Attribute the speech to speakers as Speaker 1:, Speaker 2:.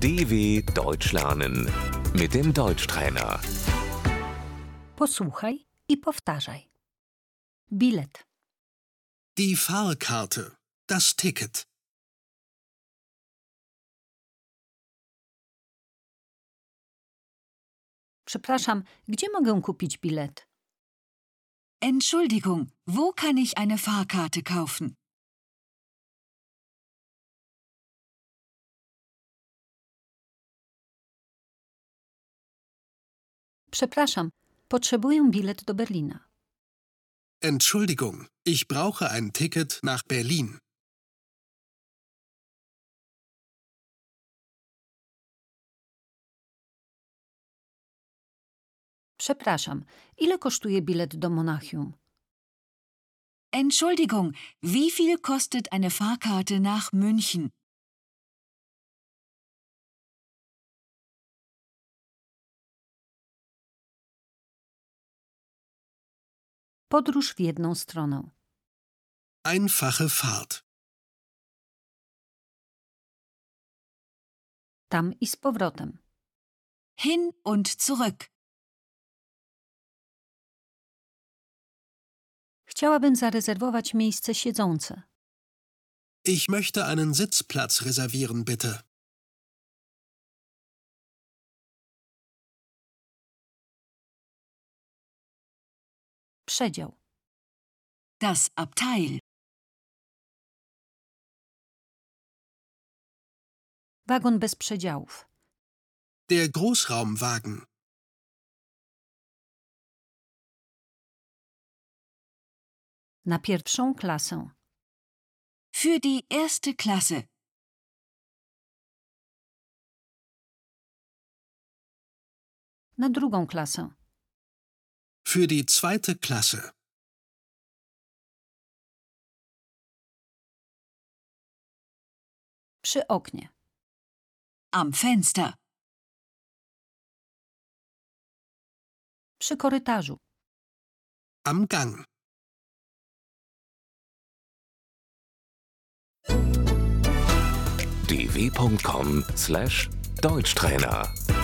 Speaker 1: DW Deutsch lernen mit dem Deutschtrainer.
Speaker 2: Posłuchaj i powtarzaj. Bilet,
Speaker 3: Die Fahrkarte. Das Ticket.
Speaker 2: przepraszam, gdzie mogę kupić bilet?
Speaker 4: Entschuldigung, wo kann ich eine Fahrkarte kaufen?
Speaker 2: Przepraszam, potrzebuję bilet do Berlina.
Speaker 3: Entschuldigung, ich brauche ein Ticket nach Berlin.
Speaker 2: Przepraszam, ile kosztuje bilet do Monachium?
Speaker 4: Entschuldigung, wie viel kostet eine Fahrkarte nach München?
Speaker 2: Podróż w jedną stronę.
Speaker 3: Einfache Fahrt.
Speaker 2: Tam i z powrotem.
Speaker 4: Hin und zurück.
Speaker 2: Chciałabym zarezerwować miejsce siedzące.
Speaker 3: Ich möchte einen Sitzplatz reservieren, bitte.
Speaker 2: Przedział.
Speaker 4: Das Abteil.
Speaker 2: Wagon bez przedziałów.
Speaker 3: Der Großraumwagen.
Speaker 2: Na pierwszą klasę.
Speaker 4: Für die erste Klasse.
Speaker 2: Na drugą klasę.
Speaker 3: Für die zweite Klasse.
Speaker 2: Przy oknie.
Speaker 4: Am Fenster.
Speaker 2: Przy korytarzu.
Speaker 3: Am Gang.
Speaker 1: dw.com/deutschtrainer